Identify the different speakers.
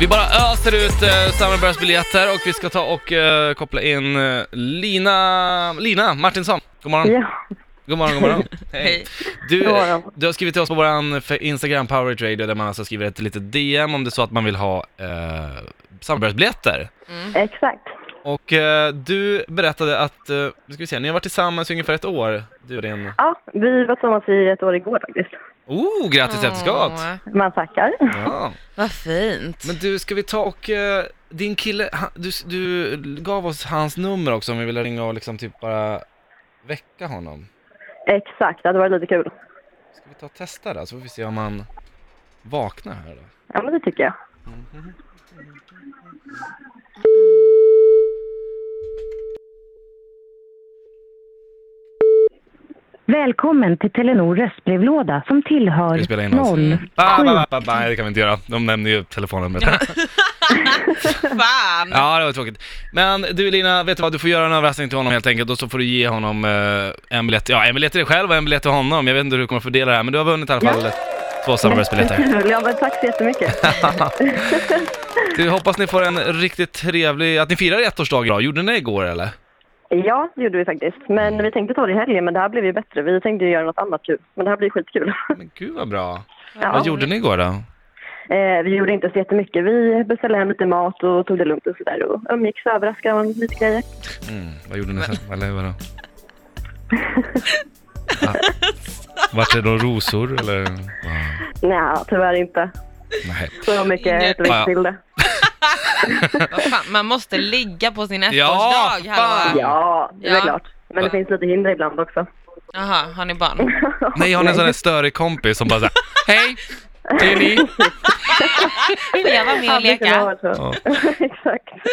Speaker 1: Vi bara öser ut eh, Summerburst biljetter och vi ska ta och eh, koppla in eh, Lina, Lina Martinsson. God morgon.
Speaker 2: Ja,
Speaker 1: God morgon, god morgon.
Speaker 3: Hej.
Speaker 1: Du,
Speaker 2: God
Speaker 1: eh,
Speaker 2: morgon.
Speaker 1: du har skrivit till oss på våran fe- Instagram Power Rate Radio där man alltså skriver ett litet DM om det är så att man vill ha eh, Summerburst-biljetter.
Speaker 2: exakt.
Speaker 1: Och eh, du berättade att, eh, nu ska vi se, ni har varit tillsammans i ungefär ett år, du och din...
Speaker 2: Ja, vi var tillsammans i ett år igår faktiskt.
Speaker 1: Oh, grattis i efterskott!
Speaker 3: Åh,
Speaker 2: Man tackar.
Speaker 1: Ja.
Speaker 3: Vad fint.
Speaker 1: Men du, ska vi ta och, eh, din kille, han, du, du gav oss hans nummer också om vi ville ringa och liksom typ bara väcka honom.
Speaker 2: Exakt, det hade varit lite kul.
Speaker 1: Ska vi ta och testa det så får vi se om han vaknar här då.
Speaker 2: Ja, men det tycker jag.
Speaker 4: Välkommen till Telenor röstbrevlåda som tillhör
Speaker 1: Ska vi spela in alltså. oss?
Speaker 4: noll.
Speaker 1: Ba, ba, ba, ba, ba. Nej, det kan vi inte göra. De nämner ju telefonnumret.
Speaker 3: Fan.
Speaker 1: ja, det var tråkigt. Men du Lina, vet du vad? Du får göra en överraskning till honom helt enkelt och så får du ge honom eh, en biljett. Ja, en biljett till dig själv och en biljett till honom. Jag vet inte hur du kommer att fördela det här, men du har vunnit i alla fall två samarbetsbiljetter.
Speaker 2: Kul, ja men tack så jättemycket.
Speaker 1: Du, hoppas ni får en riktigt trevlig, att ni firar ettårsdag idag. Gjorde ni det igår eller?
Speaker 2: Ja, det gjorde vi faktiskt. Men vi tänkte ta det i helgen, men det här blev ju bättre. Vi tänkte ju göra något annat kul, men det här blir skitkul.
Speaker 1: Men gud vad bra.
Speaker 2: Ja.
Speaker 1: Vad gjorde ni igår då?
Speaker 2: Eh, vi gjorde inte så jättemycket. Vi beställde hem lite mat och tog det lugnt och sådär och umgicks och överraskade varandra med lite grejer.
Speaker 1: Mm, vad gjorde ni sen? Eller vadå? Ah. Vart det då rosor eller? Ah,
Speaker 2: Nej, tyvärr inte.
Speaker 1: nej.
Speaker 2: Så mycket
Speaker 3: Inget.
Speaker 2: heter vi
Speaker 1: Ja, ja.
Speaker 2: inte till det.
Speaker 3: Vad fan, man måste ligga på sin
Speaker 1: Ja,
Speaker 3: ettårsdag.
Speaker 1: fan.
Speaker 3: hallå.
Speaker 2: Ja, det är
Speaker 3: Ja.
Speaker 2: klart. Men det
Speaker 3: Va?
Speaker 2: finns lite hinder ibland också.
Speaker 3: Jaha, har ni barn?
Speaker 1: Nej, jag har en sån där störig kompis som bara såhär, hej, det är ni.
Speaker 3: Får jag vara med och
Speaker 2: Ja, det kan
Speaker 3: leka?
Speaker 2: vara så.
Speaker 1: Ja.
Speaker 2: Exakt.